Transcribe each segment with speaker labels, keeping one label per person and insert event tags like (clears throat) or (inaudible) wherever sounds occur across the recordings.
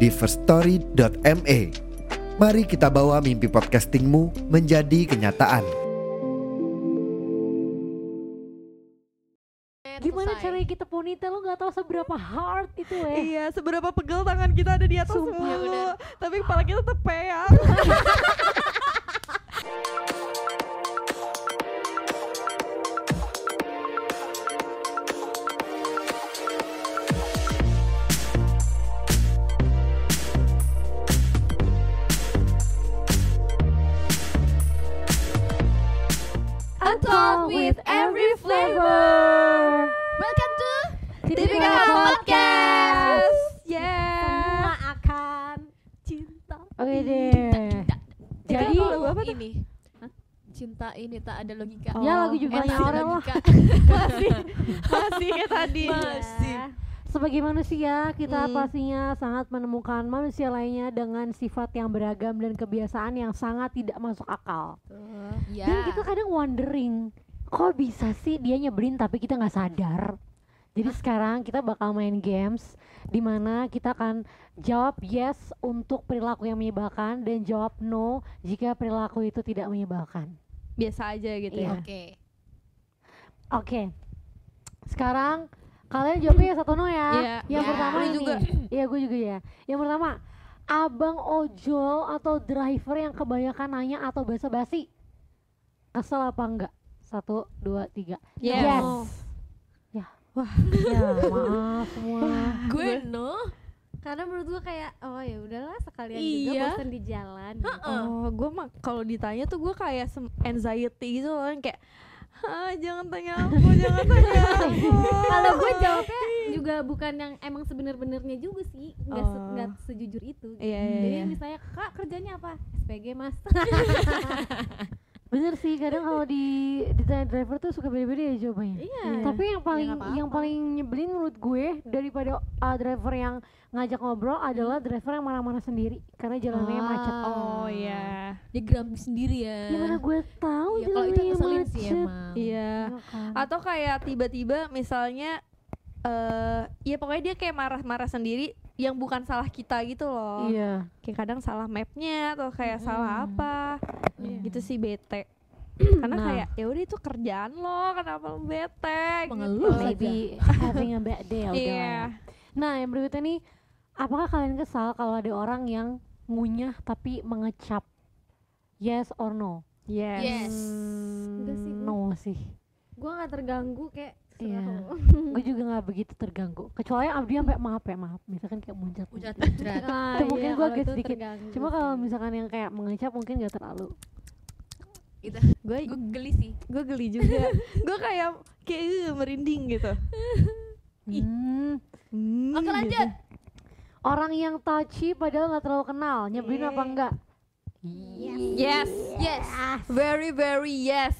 Speaker 1: di firststory.me. Mari kita bawa mimpi podcastingmu menjadi kenyataan.
Speaker 2: Gimana caranya kita ponytail lo gak tahu seberapa hard itu
Speaker 3: Eh.
Speaker 2: ya
Speaker 4: Iya, seberapa pegel tangan kita ada di atas
Speaker 2: Sumpah,
Speaker 4: mulu.
Speaker 2: bener.
Speaker 4: Tapi kepala kita tetep ya.
Speaker 3: (laughs) Untold with every flavor. Welcome to Tipika Podcast.
Speaker 2: Semua akan
Speaker 3: Cinta.
Speaker 2: Oke deh Jadi
Speaker 3: Itu lagu apa
Speaker 4: tuh?
Speaker 3: ini? Cinta ini tak ada logika.
Speaker 2: Ya, lagu juga
Speaker 3: Enak
Speaker 2: yang orang lah.
Speaker 3: logika.
Speaker 4: Masih kayak tadi.
Speaker 3: Masih.
Speaker 2: Ya. Sebagai manusia, kita
Speaker 4: Hmm.
Speaker 2: pastinya sangat menemukan manusia lainnya dengan sifat yang beragam dan kebiasaan yang sangat tidak masuk akal.
Speaker 3: Ya.
Speaker 2: Dan kita kadang wondering, kok bisa sih dia nyebelin tapi kita nggak sadar. Jadi sekarang kita bakal main games di mana kita akan jawab yes untuk perilaku yang menyebalkan dan jawab no jika perilaku itu tidak menyebalkan.
Speaker 4: Biasa aja gitu
Speaker 2: Iya.
Speaker 4: ya.
Speaker 3: Oke.
Speaker 2: Oke. Sekarang kalian jawabnya satu no ya.
Speaker 4: Iya.
Speaker 2: Yang
Speaker 3: Iya.
Speaker 2: pertama
Speaker 3: Lu
Speaker 2: ini.
Speaker 4: juga.
Speaker 2: Iya, gue juga ya. Yang pertama, abang ojol atau driver yang kebanyakan nanya atau basa-basi. Kesel apa enggak? Satu, dua, tiga.
Speaker 4: Iya. Yes.
Speaker 2: Oh, Ya.
Speaker 4: Wah.
Speaker 2: Ya, maaf semua.
Speaker 3: Gue no.
Speaker 5: karena menurut gua kayak oh ya udahlah sekalian
Speaker 3: Iya.
Speaker 5: juga bosan di jalan
Speaker 4: Oh, gue mah kalau ditanya tuh gue kayak sem- anxiety gitu loh yang kayak "Ah, jangan tanya aku, jangan tanya aku.
Speaker 5: kalau gue jawabnya juga bukan yang emang sebener-benernya juga sih nggak se-
Speaker 4: Oh.
Speaker 5: nggak sejujur itu gitu.
Speaker 4: Iya, iya,
Speaker 5: jadi
Speaker 4: iya.
Speaker 5: misalnya kak kerjanya apa SPG mas
Speaker 2: Bener sih, kadang kalau di ditanya driver tuh suka beda-beda ya jawabannya.
Speaker 5: iya
Speaker 2: Tapi yang paling
Speaker 5: nggak apa-apa.
Speaker 2: yang paling nyebelin menurut gue daripada uh, driver yang ngajak ngobrol adalah driver yang marah-marah sendiri karena jalannya macet.
Speaker 4: Oh iya.
Speaker 3: Dia geram Ah. sendiri ya.
Speaker 2: Gimana gue tahu
Speaker 3: Ya, kalau itu
Speaker 2: jalannya
Speaker 3: ngeselin
Speaker 2: macet.
Speaker 3: sih emang.
Speaker 4: Iya.
Speaker 2: Iya kan?
Speaker 4: Atau kayak tiba-tiba misalnya eh ya pokoknya dia kayak marah-marah sendiri yang bukan salah kita gitu loh.
Speaker 2: Iya.
Speaker 4: kayak kadang salah mapnya atau kayak salah
Speaker 3: Mm.
Speaker 4: apa
Speaker 3: Iya.
Speaker 4: gitu sih bete karena
Speaker 2: Nah.
Speaker 4: kayak ya udah itu kerjaan lo kenapa lo bete
Speaker 3: Mengeluh
Speaker 4: gitu.
Speaker 2: Maybe having a bad
Speaker 3: Ya
Speaker 2: day ya udah
Speaker 4: iya
Speaker 2: lah. Nah, yang berikutnya nih apakah kalian kesal kalau ada orang yang ngunyah tapi mengecap? Yes or no?
Speaker 4: yes,
Speaker 3: Yes.
Speaker 5: Enggak sih, gue.
Speaker 2: No sih.
Speaker 5: gue nggak terganggu kayak
Speaker 2: Iya.
Speaker 5: terserah lo.
Speaker 2: gue juga nggak begitu terganggu. Kecuali Abdi sampai maaf ya maaf. Misalkan kayak muncat.
Speaker 3: Udah terjerat.
Speaker 5: (laughs) Nah,
Speaker 2: Itu mungkin
Speaker 5: iya,
Speaker 2: gua
Speaker 5: kalau
Speaker 2: agak
Speaker 5: itu
Speaker 2: sedikit.
Speaker 5: terganggu
Speaker 2: Cuma kalau
Speaker 5: sih.
Speaker 2: misalkan yang kayak mengecap mungkin gak terlalu.
Speaker 4: gue
Speaker 3: Gue geli sih.
Speaker 4: gue geli juga (laughs) gue kayak kayak "Ugh," merinding gitu Ih.
Speaker 2: Hmm.
Speaker 4: Hmm,
Speaker 3: Oke,
Speaker 4: gitu.
Speaker 3: lanjut.
Speaker 2: Orang yang touchy padahal nggak terlalu kenal, nyebelin apa enggak?
Speaker 4: yes
Speaker 3: Yes.
Speaker 4: very very yes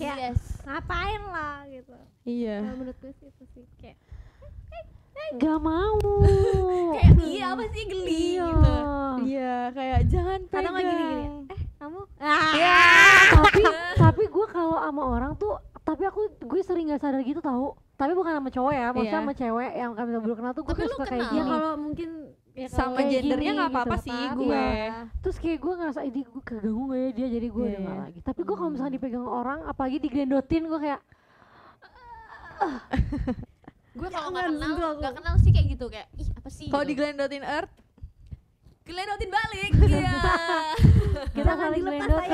Speaker 5: Kayak,
Speaker 3: Yes.
Speaker 5: ngapain lah gitu
Speaker 4: iya
Speaker 5: kalau menurut gue sih itu sih kayak
Speaker 2: Gak mau.
Speaker 3: Kayak iya apa sih geli
Speaker 2: Iya.
Speaker 3: gitu.
Speaker 4: iya kayak jangan
Speaker 5: Kadang
Speaker 4: pegang
Speaker 5: nggak gini-gini.
Speaker 4: Eh,
Speaker 5: kamu "Ah,
Speaker 2: tapi tapi gue kalau sama orang tuh tapi aku gue sering nggak sadar gitu tahu tapi bukan sama cowok ya maksudnya
Speaker 4: Iya.
Speaker 2: sama cewek yang kami belum kenal tuh gue
Speaker 3: Tapi
Speaker 2: tuh
Speaker 3: lu
Speaker 2: suka kayak
Speaker 3: kenal.
Speaker 5: ya
Speaker 2: gini
Speaker 5: kalau mungkin ya kalau
Speaker 4: sama
Speaker 2: kayak
Speaker 4: gendernya
Speaker 2: gini
Speaker 4: nggak apa-apa
Speaker 2: gitu.
Speaker 4: sih
Speaker 5: Apa-apa.
Speaker 4: gue
Speaker 5: Iya.
Speaker 2: terus kayak gue ngerasa ini gue keganggu gak ya dia jadi gue udah
Speaker 4: Iya,
Speaker 2: nggak
Speaker 4: iya.
Speaker 2: lagi tapi gue kalau misalnya dipegang orang apalagi diglendotin gue kayak
Speaker 3: Gue kalau nggak
Speaker 5: Jangan,
Speaker 3: kenal,
Speaker 5: enggak,
Speaker 3: nggak kenal sih kayak gitu kayak ih apa sih.
Speaker 4: kalau
Speaker 3: gitu.
Speaker 4: diglendotin earth
Speaker 3: Geledotin balik. (laughs) Iya.
Speaker 2: kita
Speaker 5: Jangan
Speaker 2: saling Iya.
Speaker 5: dilepas,
Speaker 2: glendotin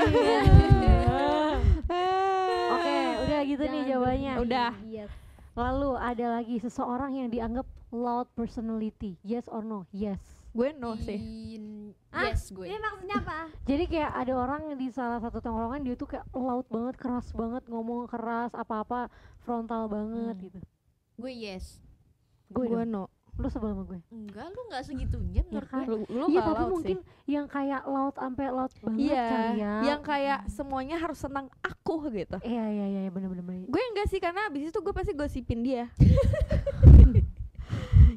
Speaker 4: (laughs)
Speaker 2: oke udah gitu nih
Speaker 5: Jangan
Speaker 2: jawabannya
Speaker 5: berlebihan.
Speaker 4: Udah.
Speaker 5: Yes.
Speaker 2: lalu ada lagi seseorang yang dianggap loud personality yes or no yes
Speaker 4: gue no sih
Speaker 3: In-
Speaker 5: Ah,
Speaker 3: Yes gue.
Speaker 5: ini maksudnya apa
Speaker 2: Jadi kayak ada orang di salah satu tongkrongan dia tuh kayak loud banget, keras banget, ngomong keras, apa-apa frontal banget
Speaker 3: Hmm.
Speaker 2: gitu.
Speaker 3: Gue yes.
Speaker 2: Gue
Speaker 4: no
Speaker 2: Lu sebel sama gue?
Speaker 3: enggak lu enggak segitunya menurut
Speaker 2: kan?
Speaker 3: gue
Speaker 4: Lu, lu
Speaker 2: Iya
Speaker 4: nggak
Speaker 2: tapi
Speaker 4: laut
Speaker 2: mungkin
Speaker 4: sih.
Speaker 2: yang kayak laut sampai laut banget
Speaker 4: Iya,
Speaker 2: kali ya.
Speaker 4: yang kayak semuanya harus tentang aku gitu.
Speaker 2: Iya iya iya bener-bener.
Speaker 4: Gue enggak sih karena abis itu gue pasti gosipin
Speaker 5: (laughs)
Speaker 4: dia.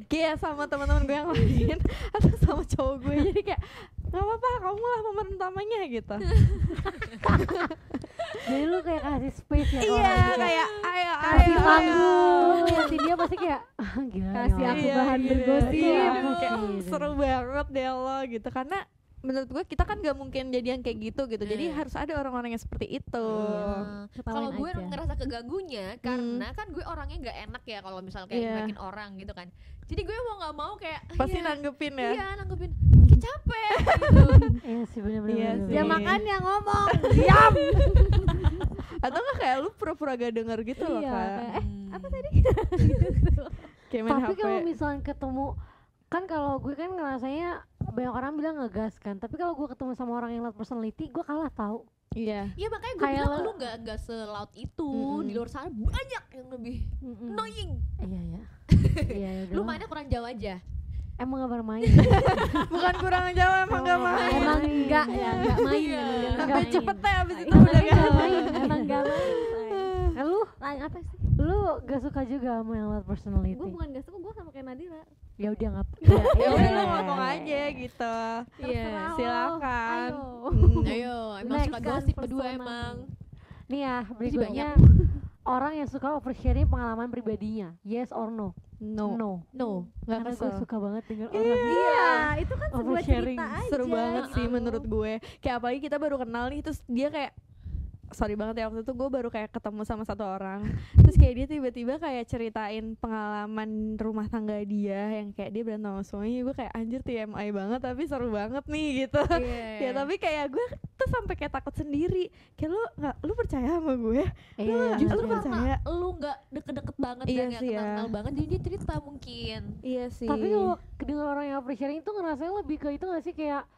Speaker 4: kayak sama teman-teman gue yang lain atau sama cowok gue jadi kayak nggak apa-apa kamu lah pemeran utamanya gitu.
Speaker 2: Jadi lu kayak kasih space ya. ke
Speaker 4: (laughs) iya
Speaker 2: orang gitu.
Speaker 4: kayak ayo
Speaker 2: kasih
Speaker 4: ayo, ayo.
Speaker 2: panggung. Nanti dia pasti kayak ah, gila.
Speaker 5: Kasih
Speaker 2: nih
Speaker 5: aku
Speaker 2: orang.
Speaker 4: Iya,
Speaker 5: bahan
Speaker 4: gitu.
Speaker 5: bergosip.
Speaker 4: Iya,
Speaker 2: Iya,
Speaker 4: kayak,
Speaker 2: gitu.
Speaker 4: "Hmm, seru banget deh lo gitu karena menurut gue kita kan gak mungkin jadi yang kayak gitu gitu jadi
Speaker 3: Eh.
Speaker 4: harus ada orang-orang yang seperti itu
Speaker 3: Iya. Kalau
Speaker 5: Ketawain
Speaker 3: gue
Speaker 5: aja.
Speaker 3: ngerasa keganggunya karena kan gue orangnya nggak enak ya kalau misal
Speaker 4: Hmm.
Speaker 3: kayak
Speaker 4: Iya.
Speaker 3: nyebekin orang gitu kan. Jadi gue mau nggak mau kayak "Ah,
Speaker 4: pasti
Speaker 3: iya,
Speaker 4: nanggepin ya
Speaker 3: Iya, nanggepin. Kayak capek
Speaker 4: (laughs)
Speaker 3: gitu.
Speaker 2: Iya sih bener-bener.
Speaker 4: Iya
Speaker 2: bener-bener.
Speaker 4: sih.
Speaker 5: Ya makan yang ngomong. Iya.
Speaker 4: atau nggak kayak lu pura-pura gak denger gitu loh
Speaker 5: Iya,
Speaker 4: kak Hmm.
Speaker 5: kayak,
Speaker 3: apa tadi?
Speaker 4: kayak main
Speaker 2: Iya, Tapi
Speaker 4: HP
Speaker 2: kalau misalnya ketemu kan kalau gue kan ngerasanya banyak orang bilang ngegas kan tapi kalau gue ketemu sama orang yang loud personality gue kalah tau
Speaker 4: iya
Speaker 3: Iya makanya gue
Speaker 2: Kayak
Speaker 3: bilang
Speaker 2: lo-
Speaker 3: lu nggak nggak selaut itu
Speaker 4: Mm-mm.
Speaker 3: di luar sana banyak yang lebih annoying.
Speaker 2: iya iya iya iya,
Speaker 3: Lu
Speaker 2: doang.
Speaker 3: mainnya kurang jauh aja.
Speaker 2: emang gak bermain (laughs)
Speaker 4: bukan kurang jawa emang gak main
Speaker 5: Emang enggak ya, enggak main.
Speaker 3: Iya.
Speaker 5: emang dia enggak
Speaker 4: sampai
Speaker 5: main.
Speaker 4: cepet deh abis itu
Speaker 5: Emang
Speaker 4: udah
Speaker 5: dia
Speaker 4: gak
Speaker 5: enggak main. Emang enggak main. say.
Speaker 2: Eh, lu
Speaker 5: Lain apa sih?
Speaker 2: lu gak suka juga sama yang loud personality
Speaker 5: Gue bukan gak suka, gue sama kayak Nadira.
Speaker 2: ya udah
Speaker 4: (laughs)
Speaker 2: iya. nggak
Speaker 4: ya udah lu ngomong aja gitu
Speaker 5: Terserah lo.
Speaker 4: silakan
Speaker 5: Ayo.
Speaker 4: Hmm.
Speaker 3: Ayo, emang
Speaker 5: Next
Speaker 3: suka
Speaker 5: kan
Speaker 3: gosip berdua
Speaker 5: personal.
Speaker 3: emang.
Speaker 2: nih ya berikutnya orang yang suka oversharing pengalaman pribadinya yes or no
Speaker 4: no
Speaker 2: no
Speaker 3: No.
Speaker 4: nggak
Speaker 2: karena gue
Speaker 4: kesel
Speaker 2: suka banget dengan orang
Speaker 5: Iya, itu kan sebuah
Speaker 2: Oversharing.
Speaker 5: cerita aja.
Speaker 4: seru banget sih
Speaker 5: gitu.
Speaker 4: menurut gue kayak apalagi kita baru kenal nih terus dia kayak sorry banget ya waktu itu gue baru kayak ketemu sama satu orang terus kayak dia tiba-tiba kayak ceritain pengalaman rumah tangga dia yang kayak dia berantem sama suaminya gue kayak anjir TMI banget tapi seru banget nih gitu
Speaker 3: Iya.
Speaker 4: (laughs) ya tapi kayak gue tuh sampai kayak takut sendiri kayak lu nggak lu percaya sama gue
Speaker 2: Iya,
Speaker 3: Justru
Speaker 4: Nggak percaya.
Speaker 3: karena lu nggak deket-deket banget
Speaker 4: Iya
Speaker 3: dan nggak
Speaker 4: sih ya.
Speaker 3: kenal-kenal banget, jadi dia cerita mungkin.
Speaker 4: iya sih
Speaker 2: tapi kalau kedengar orang yang oversharing itu ngerasanya lebih ke itu gak sih kayak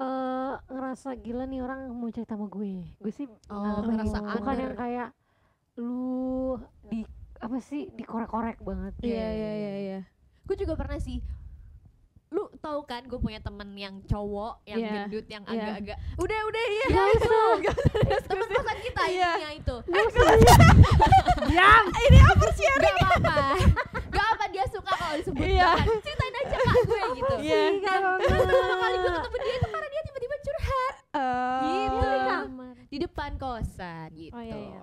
Speaker 2: eh ngerasa gila nih orang mau cerita sama gue gue sih
Speaker 3: Oh,
Speaker 2: menganggapnya
Speaker 3: ngerasa
Speaker 2: gitu. bukan
Speaker 3: under.
Speaker 2: yang kayak lu di apa sih dikorek-korek banget
Speaker 4: iya iya iya iya
Speaker 3: gue juga pernah sih lu tahu kan gue punya temen yang cowok yang
Speaker 4: Iya.
Speaker 3: gendut yang
Speaker 4: Iya.
Speaker 3: agak-agak
Speaker 4: udah udah iya
Speaker 2: Gak
Speaker 3: (laughs)
Speaker 2: usah
Speaker 3: temen kosan kita
Speaker 4: Iya.
Speaker 3: intinya itu
Speaker 4: diam ini overshare
Speaker 3: gak apa-apa gak apa dia suka kalau disebut
Speaker 4: Iya.
Speaker 3: jangan. ceritain aja kak gue gitu
Speaker 4: iya (laughs)
Speaker 3: Dan terus pertama kali gue ketemu dia itu karena dia tiba-tiba curhat Gitu.
Speaker 5: Di
Speaker 4: Eh,
Speaker 5: kamar.
Speaker 3: di depan kosan gitu
Speaker 4: Oh, iya, iya,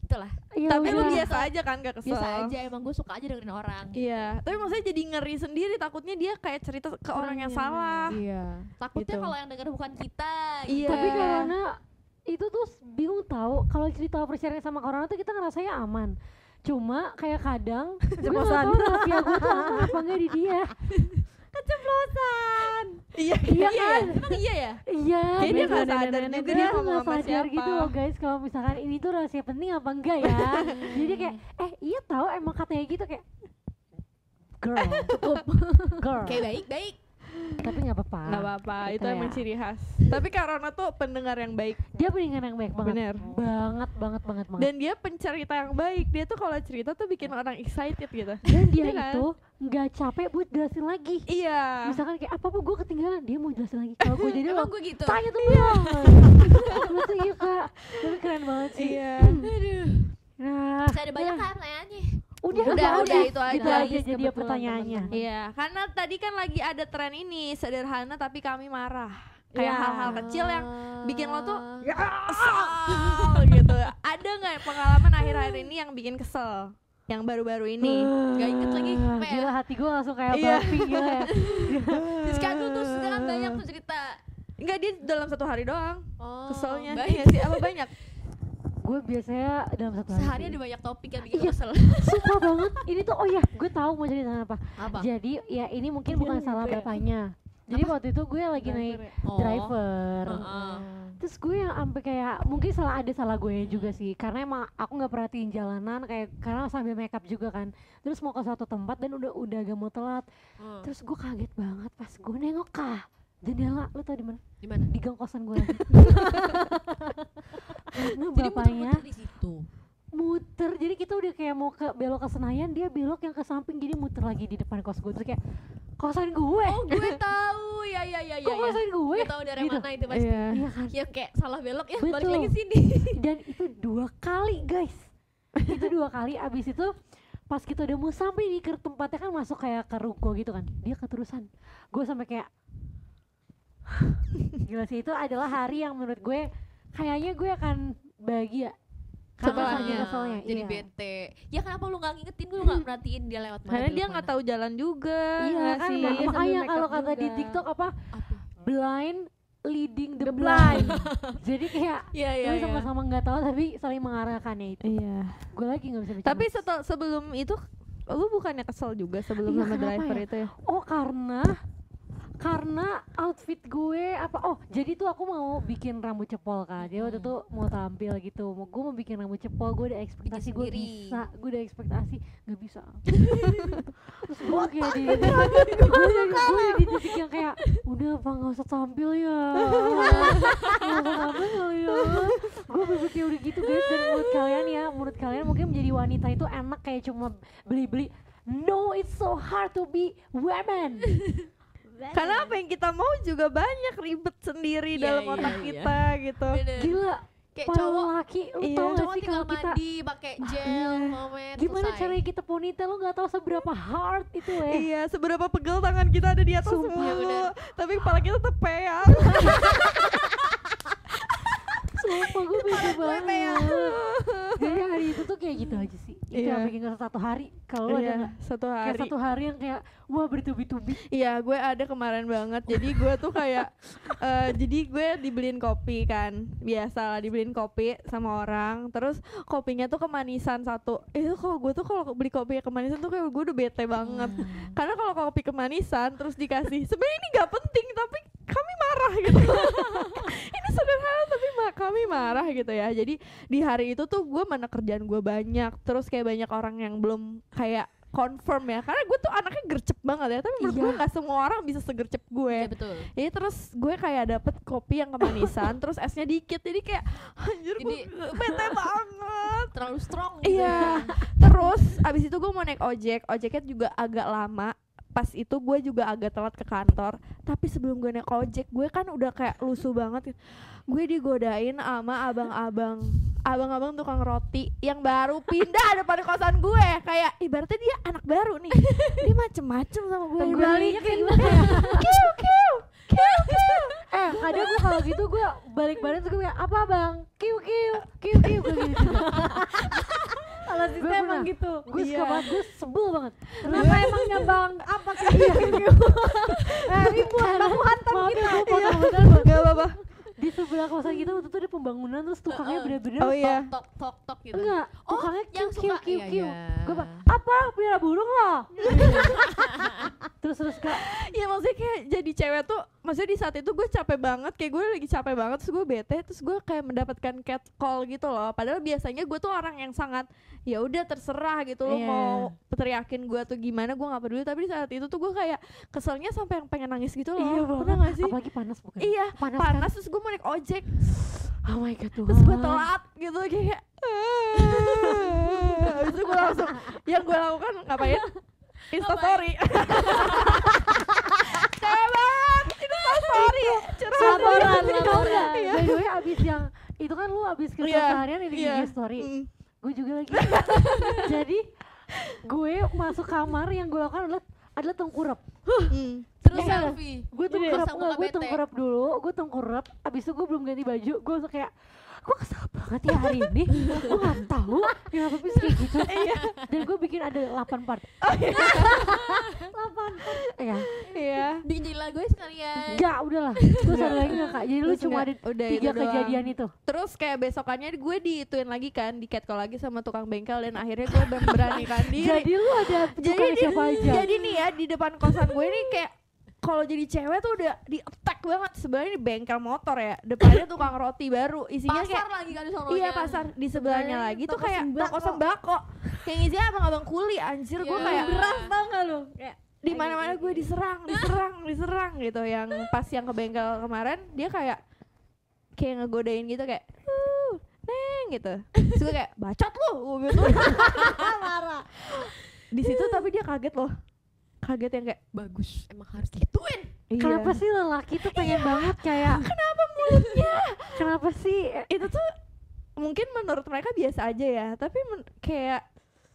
Speaker 3: itulah
Speaker 2: Ya
Speaker 4: tapi lu
Speaker 2: udah.
Speaker 4: biasa aja kan gak kesel
Speaker 3: biasa aja emang gue suka aja dengerin orang
Speaker 4: Iya, tapi maksudnya jadi ngeri sendiri takutnya dia kayak cerita ke orang yang
Speaker 5: Orangnya.
Speaker 4: salah.
Speaker 3: iya takutnya
Speaker 4: Gitu.
Speaker 3: kalau yang denger bukan kita
Speaker 4: Iya.
Speaker 3: gitu.
Speaker 2: tapi karena itu tuh s- bingung tahu kalau cerita oversharing sama orang tuh kita ngerasanya aman cuma kayak kadang gue nggak
Speaker 4: Ceplosan.
Speaker 2: tahu rahasia gue tuh aman apa enggak di dia
Speaker 4: (laughs) Iya,
Speaker 2: Iya kan?
Speaker 4: Emang iya ya?
Speaker 2: iya
Speaker 4: Kayaknya dia
Speaker 2: bener.
Speaker 4: nggak sadar
Speaker 5: bener-bener
Speaker 4: juga
Speaker 2: Gue
Speaker 4: dia
Speaker 2: tuh
Speaker 4: ngomong
Speaker 2: nggak
Speaker 4: sama
Speaker 2: sadar
Speaker 4: siapa.
Speaker 2: gitu loh guys kalau misalkan ini tuh rahasia penting apa enggak
Speaker 4: (laughs)
Speaker 2: ya jadi kayak eh iya tahu emang katanya gitu kayak girl
Speaker 4: (laughs)
Speaker 2: cukup girl
Speaker 3: kayak baik-baik
Speaker 2: tapi nggak apa-apa
Speaker 4: Gak apa-apa, itu
Speaker 2: Gitu
Speaker 4: emang
Speaker 2: ya.
Speaker 4: ciri khas. Ah, Tapi Karona tuh pendengar yang baik
Speaker 2: dia pendengar yang baik banget
Speaker 4: Bener.
Speaker 2: banget banget banget banget
Speaker 4: dan dia pencerita yang baik. Dia tuh kalau cerita tuh bikin orang excited (laughs) gitu.
Speaker 2: dan dia
Speaker 4: Iya kan?
Speaker 2: itu nggak capek buat jelasin lagi
Speaker 4: Iya.
Speaker 2: misalkan kayak apa apa gue ketinggalan dia mau jelasin lagi kalau gue
Speaker 3: (laughs)
Speaker 2: jadi lo
Speaker 3: emang gue gitu
Speaker 2: tanya tuh iya. lucu iya kak tapi keren banget sih
Speaker 4: (laughs) Iya.
Speaker 2: nah
Speaker 3: Bisa ada banyak
Speaker 2: nah,
Speaker 3: kan pertanyaannya
Speaker 2: udah
Speaker 4: Udah,
Speaker 2: bagus.
Speaker 4: udah, itu
Speaker 2: gitu
Speaker 4: aja.
Speaker 2: aja
Speaker 3: Bagus
Speaker 2: jadi
Speaker 3: kebetulan,
Speaker 2: pertanyaannya
Speaker 3: teman-teman.
Speaker 4: Iya, karena tadi kan lagi ada tren ini sederhana tapi kami marah. Kayak
Speaker 2: Iya.
Speaker 4: hal-hal kecil yang (laughs) bikin lo tuh
Speaker 2: Ya.
Speaker 4: kesel gitu. Ada nggak pengalaman akhir-akhir ini yang bikin kesel? Yang baru-baru ini?
Speaker 3: Gak Iya, inget lagi apa ya
Speaker 2: Ah, Gila hati gue langsung kayak
Speaker 4: Iya.
Speaker 2: bumping gila ya
Speaker 3: Siska dulu tuh sekarang banyak tuh cerita
Speaker 4: Enggak dia dalam satu hari doang
Speaker 3: oh,
Speaker 4: keselnya. Iya
Speaker 3: baik.
Speaker 4: sih apa (laughs) banyak?
Speaker 2: Gue biasanya dalam satu hari
Speaker 3: Sehari ada banyak topik yang bikin
Speaker 2: Iya.
Speaker 3: kesel
Speaker 2: Sumpah banget Ini tuh oh ya gue tahu mau cerita apa
Speaker 3: Apa?
Speaker 2: Jadi ya ini mungkin bukan salah bapaknya Jadi waktu itu gue lagi naik
Speaker 3: Oh.
Speaker 2: driver
Speaker 3: Heeh.
Speaker 2: Terus gue yang sampai kayak Mungkin salah ada salah gue juga sih Karena emang aku gak perhatiin jalanan kayak Karena sambil makeup juga kan Terus mau ke suatu tempat dan udah udah agak mau telat
Speaker 3: Hmm.
Speaker 2: Terus gue kaget banget pas gue nengok kah jendela lu tau di mana
Speaker 3: Di mana? (laughs)
Speaker 2: di gang kosan gue lagi karena
Speaker 3: Jadi
Speaker 2: bapaknya
Speaker 3: muter-muter di situ.
Speaker 2: muter jadi kita udah kayak mau ke belok ke Senayan dia belok yang ke samping jadi muter lagi di depan kos gue terus kayak kosan gue
Speaker 3: Oh gue tahu ya ya ya ya.
Speaker 2: kok
Speaker 3: ya.
Speaker 2: kosan gue
Speaker 3: Gue tahu daerah
Speaker 2: Gitu.
Speaker 3: mana itu pasti.
Speaker 4: Iya.
Speaker 2: iya kan
Speaker 3: Yang kayak salah belok ya balik
Speaker 2: Betul.
Speaker 3: lagi sini.
Speaker 2: dan itu dua kali guys itu dua kali abis itu pas kita udah mau sampai di ke tempatnya kan masuk kayak ke ruko gitu kan dia keterusan gue sampai kayak gila sih itu adalah hari yang menurut gue kayaknya gue akan bahagia karena
Speaker 4: Setelahnya.
Speaker 2: saking keselnya
Speaker 3: jadi
Speaker 2: iya.
Speaker 3: bete. Ya kenapa lu nggak ngingetin gue lu nggak perhatiin dia lewat mana?
Speaker 4: Karena
Speaker 3: belok
Speaker 4: dia nggak
Speaker 3: mana.
Speaker 4: tahu jalan juga.
Speaker 2: Iya
Speaker 4: nggak
Speaker 2: kan
Speaker 4: sih?
Speaker 2: dan
Speaker 5: Iya, sambil
Speaker 2: makanya
Speaker 5: make up
Speaker 2: kalau kata di
Speaker 5: juga.
Speaker 2: TikTok apa
Speaker 3: Apa?
Speaker 2: blind leading the,
Speaker 5: The
Speaker 2: blind, (laughs) jadi kayak
Speaker 3: Iya iya.
Speaker 2: kita
Speaker 3: iya.
Speaker 2: sama-sama nggak tahu tapi saling mengarahkannya itu
Speaker 4: Iya.
Speaker 2: gue lagi nggak bisa bicara
Speaker 4: Tapi setel, sebelum itu lu bukannya kesel juga sebelum
Speaker 2: Iya,
Speaker 4: sama
Speaker 2: kenapa
Speaker 4: driver
Speaker 2: ya?
Speaker 4: itu ya?
Speaker 2: Oh karena karena outfit gue apa oh jadi tuh aku mau bikin rambut cepol kan dia waktu itu mau tampil gitu mau gue mau bikin rambut cepol gue ada ekspektasi gue
Speaker 3: sendiri.
Speaker 2: bisa gue ada ekspektasi nggak
Speaker 3: (laughs)
Speaker 2: bisa terus gue kayak di gue jadi gue di titik yang kayak udah apa nggak usah tampil
Speaker 3: (laughs)
Speaker 2: ya nggak usah tampil ya gue berpikir kayak udah gitu guys dan menurut kalian ya menurut kalian mungkin menjadi wanita itu enak kayak cuma beli beli No, it's so hard to be women.
Speaker 4: Karena apa yang kita mau juga banyak ribet sendiri
Speaker 3: Iya,
Speaker 4: dalam
Speaker 3: iya,
Speaker 4: otak
Speaker 3: iya.
Speaker 4: kita gitu.
Speaker 3: Bener.
Speaker 2: Gila,
Speaker 3: (laughs) Kayak
Speaker 2: para
Speaker 3: cowok
Speaker 2: laki lu
Speaker 4: Iya.
Speaker 2: tau gak
Speaker 3: cowok
Speaker 2: sih
Speaker 3: tinggal
Speaker 2: kalau kita Ah, iya.
Speaker 3: mandi pakai gel, pomade,
Speaker 2: gimana
Speaker 3: selesai.
Speaker 2: caranya kita ponytail lu nggak tahu seberapa hard itu ya.
Speaker 4: Iya, seberapa pegel tangan kita ada di atas
Speaker 2: Sumpah.
Speaker 4: mulu.
Speaker 3: Iya, bener.
Speaker 4: Tapi kepala kita tetep ya. peyang.
Speaker 2: Sumpah Gitu, gue beda
Speaker 3: Pea.
Speaker 2: banget. Jadi hari itu tuh kayak gitu aja sih. Itu
Speaker 4: Iya.
Speaker 2: yang bikin ngerasa satu hari. Kalau lu Oh, ada
Speaker 4: Iya,
Speaker 2: nggak?
Speaker 4: satu
Speaker 2: kayak
Speaker 4: hari.
Speaker 2: satu hari yang kayak wah bertubi-tubi.
Speaker 4: Iya, gue ada kemarin banget. Jadi gue tuh kayak, eh, jadi gue dibeliin kopi kan, biasa lah dibeliin kopi sama orang. Terus kopinya tuh kemanisan satu. Itu kalau gue tuh kalau beli kopi yang kemanisan tuh kayak gue udah bete banget.
Speaker 3: Iya,
Speaker 4: Karena kalau kopi kemanisan terus dikasih, sebenarnya ini nggak penting tapi kami marah gitu. (laughs) ini sederhana tapi ma- kami marah gitu ya. Jadi di hari itu tuh gue mana kerjaan gue banyak. Terus kayak banyak orang yang belum kayak confirm ya karena gue tuh anaknya gercep banget ya tapi menurut gue nggak semua orang bisa segercep
Speaker 3: Iya
Speaker 4: gue (laughs)
Speaker 3: betul.
Speaker 4: jadi terus gue kayak dapet kopi yang kemanisan terus esnya dikit jadi kayak anjir gue
Speaker 3: Jadi-
Speaker 4: (laughs) bete banget
Speaker 3: (laughs) Terlalu strong. gitu. (laughs)
Speaker 4: Iya. Terus abis itu gue mau naik ojek, ojeknya juga agak lama. Pas itu gue juga agak telat ke kantor. Tapi sebelum gue naik ojek, gue kan udah kayak lusuh banget. Gue digodain sama abang-abang, abang-abang tukang roti yang baru pindah (laughs) depan kosan gue. Kayak ibaratnya dia anak baru nih. Dia macem-macem sama gue.
Speaker 2: Balikin kayak gimana ya? Eh, kadang gue kalau gitu gue balik badan tuh gue kayak apa bang? Kiu kiu kiu kiu gue gitu.
Speaker 5: Kalau
Speaker 2: Gue pernah.
Speaker 5: gitu.
Speaker 2: Gue suka
Speaker 4: Iya.
Speaker 2: banget, gue sebel banget.
Speaker 5: Kenapa emangnya bang?
Speaker 4: Eh,
Speaker 2: (laughs)
Speaker 5: Apa sih?
Speaker 2: Iya, gitu. Ribuan baku hantam kita. Maaf ya, gue potong bentar, Bang.
Speaker 4: Gak apa-apa.
Speaker 2: di sebelah kosan kita waktu itu ada pembangunan terus tukangnya
Speaker 3: Heeh.
Speaker 2: bener-bener
Speaker 4: Oh iya.
Speaker 3: Tok tok tok gitu.
Speaker 2: enggak tukangnya kiu
Speaker 3: yang
Speaker 2: kiu
Speaker 3: suka-
Speaker 2: kiu
Speaker 3: iya,
Speaker 2: kiu
Speaker 3: iya.
Speaker 2: gue bilang, apa pelihara burung (laughs) loh terus terus kak
Speaker 4: Iya maksudnya kayak jadi cewek tuh Maksudnya di saat itu gue capek banget Kayak gue lagi capek banget Terus gue bete Terus gue kayak mendapatkan cat call gitu loh Padahal biasanya gue tuh orang yang sangat ya udah terserah gitu loh
Speaker 2: Iya.
Speaker 4: Mau teriakin gue tuh gimana Gue gak peduli Tapi di saat itu tuh gue kayak Keselnya sampai yang pengen nangis gitu loh
Speaker 2: iya
Speaker 4: Pernah
Speaker 2: banget
Speaker 4: gak sih?
Speaker 2: apalagi panas bukan
Speaker 4: Iya
Speaker 2: panas,
Speaker 4: panas,
Speaker 2: kan?
Speaker 4: Terus gue mau naik ojek
Speaker 2: oh my god tuh
Speaker 4: Terus gue telat gitu Kayak "Ah." Habis itu gue langsung Yang gue lakukan ngapain?
Speaker 2: (laughs)
Speaker 4: Instastory Cewek banget Instastory Curhat
Speaker 2: laporan
Speaker 4: Iya.
Speaker 2: laporan
Speaker 4: Iya.
Speaker 2: by the way abis yang itu kan lu abis kerja
Speaker 4: Iya,
Speaker 2: seharian ini
Speaker 4: iya.
Speaker 2: IG story
Speaker 4: Mm.
Speaker 2: gue juga
Speaker 4: (laughs)
Speaker 2: lagi jadi gue masuk kamar yang gue lakukan adalah adalah tengkurap
Speaker 4: Mm.
Speaker 3: Terus
Speaker 2: Iya.
Speaker 3: selfie.
Speaker 2: gue
Speaker 3: Jadi
Speaker 2: tengkurap
Speaker 3: rasa muka
Speaker 2: enggak gue
Speaker 3: bete.
Speaker 2: tengkurap dulu gue tengkurap abis itu gue belum ganti baju gue langsung kayak gue kesel banget ya hari ini gue nggak tahu kenapa bisa kayak (laughs) gitu dan gue bikin ada 8 (laughs) part 8 part ya
Speaker 4: Iya
Speaker 3: Bikin lagu aja sekalian.
Speaker 2: enggak udahlah gue sadar lagi nggak kak jadi lu
Speaker 4: Terus
Speaker 2: cuma ada
Speaker 4: enggak, udah itu
Speaker 2: tiga
Speaker 4: doang.
Speaker 2: kejadian itu
Speaker 4: Terus kayak besokannya gue diituin lagi kan Di catcall lagi sama tukang bengkel Dan akhirnya gue memberanikan diri
Speaker 2: Iya. jadi lu ada
Speaker 4: jadi
Speaker 2: bukan
Speaker 4: di-
Speaker 2: siapa aja
Speaker 4: jadi nih ya di depan kosan gue ini kayak kalau jadi cewek tuh udah di attack banget sebenarnya di bengkel motor ya depannya tukang roti baru isinya
Speaker 3: Pasar
Speaker 4: kayak
Speaker 3: lagi kali sononya.
Speaker 4: iya pasar di sebelahnya
Speaker 5: Sebelahnya
Speaker 4: lagi tuh
Speaker 5: toko
Speaker 4: kayak
Speaker 5: sembako.
Speaker 4: toko sembako yang isinya abang-abang kuli anjir gue
Speaker 3: Iya.
Speaker 4: kayak
Speaker 5: Beras tau gak lu? Kayak
Speaker 4: di mana-mana gue diserang, diserang, diserang gitu. Yang pas yang ke bengkel kemarin dia kayak kayak ngegodain gitu kayak, "Uh, neng, gitu Terus gue kayak bacot lu gue gitu marah di situ tapi dia kaget loh kaget yang kayak
Speaker 3: bagus emang harus gituin
Speaker 4: iya.
Speaker 2: Kenapa sih lelaki tuh pengen banget kayak Iya. Kenapa mulutnya? Kenapa sih?
Speaker 4: itu tuh mungkin menurut mereka biasa aja ya tapi men- kayak